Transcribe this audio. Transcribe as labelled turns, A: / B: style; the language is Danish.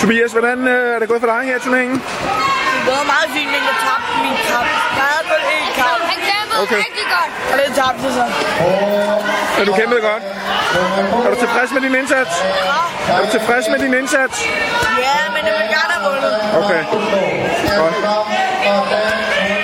A: Tobias, hvordan øh, er det gået for dig her i turneringen?
B: Det var meget fint, men jeg tabte min kamp. Jeg havde kun én kamp,
C: Han kæmpede
A: Okay.
C: okay. rigtig godt.
B: og det tabte jeg så.
A: Så du kæmpede godt. Er du tilfreds med din indsats? Er du tilfreds med din indsats?
B: Ja, men jeg vil gerne have vundet.
A: Okay. Godt.